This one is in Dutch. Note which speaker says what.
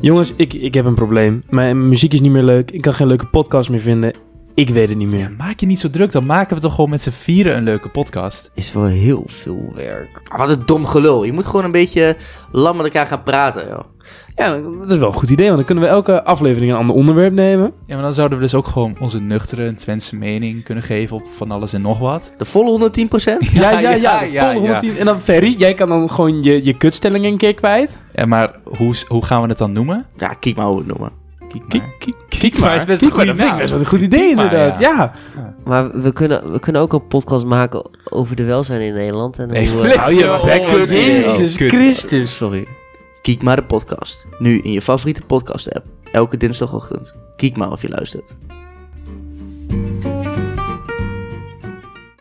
Speaker 1: Jongens, ik, ik heb een probleem. Mijn muziek is niet meer leuk. Ik kan geen leuke podcast meer vinden. Ik weet het niet meer.
Speaker 2: Maak je niet zo druk, dan maken we toch gewoon met z'n vieren een leuke podcast.
Speaker 3: Is wel heel veel werk. Wat een dom gelul. Je moet gewoon een beetje lam met elkaar gaan praten, joh.
Speaker 1: Ja, dat is wel een goed idee, want dan kunnen we elke aflevering een ander onderwerp nemen.
Speaker 2: Ja, maar dan zouden we dus ook gewoon onze nuchtere en Twentse mening kunnen geven op van alles en nog wat.
Speaker 3: De volle 110%?
Speaker 1: Ja, ja, ja. ja,
Speaker 2: ja,
Speaker 1: vol
Speaker 2: ja.
Speaker 1: 110. En dan Ferry, jij kan dan gewoon je, je kutstelling een keer kwijt.
Speaker 2: Ja, maar hoe, s- hoe gaan we het dan noemen?
Speaker 3: ja, kijk maar hoe we het noemen.
Speaker 2: Kiek maar.
Speaker 1: Kiek, kiek,
Speaker 2: maar is best een
Speaker 1: Kiek maar, dat
Speaker 2: goede
Speaker 1: vind ik
Speaker 2: naam.
Speaker 1: best wel een goed idee,
Speaker 2: Kiek maar,
Speaker 1: inderdaad.
Speaker 2: ja.
Speaker 1: Ja.
Speaker 4: Maar we kunnen, we kunnen ook een podcast maken over de welzijn in Nederland. En
Speaker 2: Nee,
Speaker 4: hoe,
Speaker 2: flip.
Speaker 4: eh,
Speaker 1: Hou je maar bek,
Speaker 2: Oh,
Speaker 1: kut.
Speaker 2: nee.
Speaker 1: Jezus
Speaker 2: Oh, kut.
Speaker 1: Christus.
Speaker 4: Sorry.
Speaker 3: Kijk maar de podcast. Nu in je favoriete podcast app. Elke dinsdagochtend. Kijk maar of je luistert.